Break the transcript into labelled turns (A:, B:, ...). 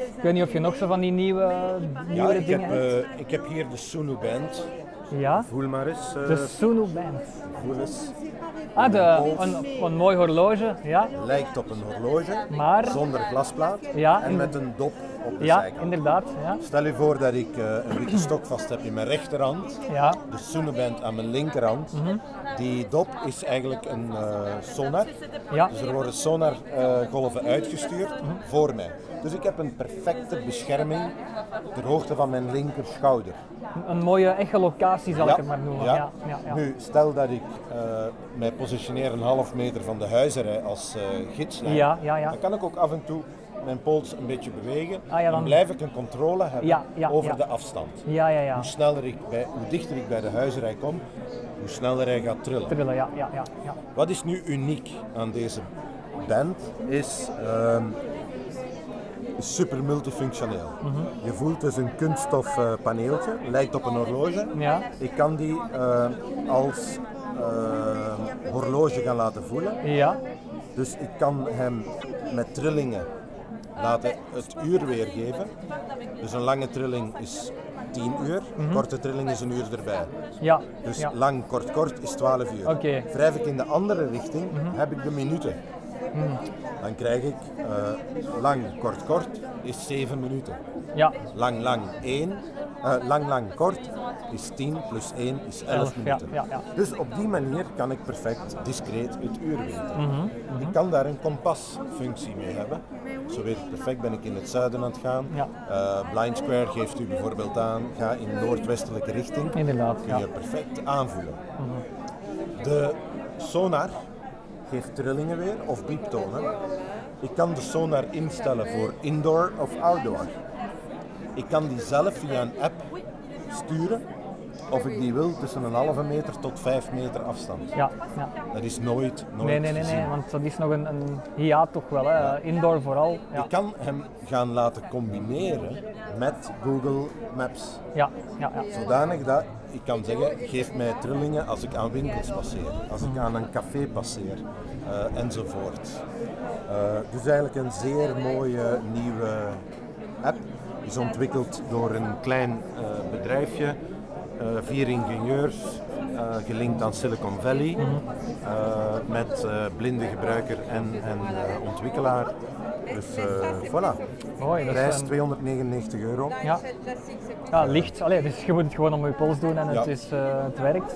A: Ik weet niet of je nog zo van die nieuwe,
B: Ja,
A: nieuwe
B: ik heb,
A: dingen hebt.
B: eh, ik heb hier de Sulu Band.
A: Ja,
B: Voel maar eens. eh,
A: de Sunu Band.
B: voel eens.
A: Ah, de, een, een mooi horloge, ja.
B: Lijkt op een horloge,
A: Maar-
B: zonder glasplaat
A: Ja,
B: en
A: in-
B: met een dop op de
A: Ja,
B: zijkant.
A: inderdaad. Ja,
B: Stel je voor dat ik eh, een witte stok vast heb in mijn rechterhand,
A: ja.
B: de Sulu Band aan mijn linkerhand.
A: Mhm.
B: Die dop is eigenlijk een eh, sonar.
A: ja.
B: Dus er worden sonargolven uitgestuurd
A: Mhm.
B: voor mij. Dus ik heb een perfecte bescherming ter hoogte van mijn linkerschouder.
A: Een mooie echolocatie zal ik het maar noemen. Ja, ja, ja.
B: Nu, stel dat ik eh, mij positioneer een half meter van de huizerij als eh gidslijn,
A: Ja, ja, ja.
B: dan kan ik ook af en toe mijn pols een beetje bewegen.
A: Ah, ja, dan-
B: dan... blijf ik een controle hebben
A: Ja, ja,
B: over
A: ja.
B: de afstand.
A: ja, ja, ja.
B: Hoe, sneller ik bij, hoe dichter ik bij de huizerij kom, hoe sneller hij gaat trillen.
A: Trillen, ja, ja, ja. ja.
B: Wat is nu uniek aan deze band is ehm, super multifunctioneel.
A: Mhm.
B: Je voelt dus een kunststof eh, paneeltje, lijkt op een horloge.
A: Ja.
B: Ik kan die eh, als eh, horloge gaan laten voelen.
A: Ja,
B: Dus ik kan hem met trillingen laten het uur weergeven. Dus een lange trilling is 10 uur, korte trilling is een uur erbij.
A: ja,
B: Dus
A: Mhm. ja.
B: lang, kort, kort is 12 uur.
A: Oké. Mhm.
B: Wrijf ik in de andere richting, heb ik de minuten. Dan krijg ik eh, lang, kort, kort is 7 minuten.
A: ja.
B: Lang, lang, 1. lang, lang, kort is 10 plus 1 is 11
A: Elf, ja,
B: minuten.
A: ja, ja.
B: Dus op die manier kan ik perfect discreet het uur weten.
A: Mhm,
B: Ik kan daar een kompasfunctie mee hebben. Zo weet ik perfect, ben ik in het zuiden aan het gaan.
A: Ja.
B: Eh, blind Square geeft u bijvoorbeeld aan, ga in noordwestelijke richting
A: Inderdaad,
B: kun
A: ja. Mhm.
B: je perfect aanvoelen. De sonar geeft trillingen weer of pieptonen. Ik kan de sonar instellen voor indoor of outdoor. Ik kan die zelf via een app sturen of ik die wil tussen een halve meter tot vijf meter afstand.
A: Ja, ja.
B: Dat is nooit, nooit
A: Nee, nee, nee,
B: gezien.
A: nee, want dat is nog een, een hiaat toch wel, hè? indoor vooral. Ja,
B: Ik kan hem gaan laten combineren met Google Maps.
A: ja, ja. ja.
B: Zodanig dat ik kan zeggen, geef mij trillingen als ik aan winkels passeer, als ik aan een café passeer eh, enzovoort. Eh, dus eigenlijk een zeer mooie nieuwe app. Is ontwikkeld door een klein eh, bedrijfje, eh, vier ingenieurs, eh, gelinkt aan Silicon Valley, eh, met eh, blinde gebruiker en, en eh, ontwikkelaar. Dus eh, voilà,
A: Mooi, dat
B: prijs
A: is, een-
B: 299 euro.
A: Ah, ja. ja, licht. Allee, dus je moet het gewoon om je pols doen en het,
B: Ja.
A: is, eh, het werkt.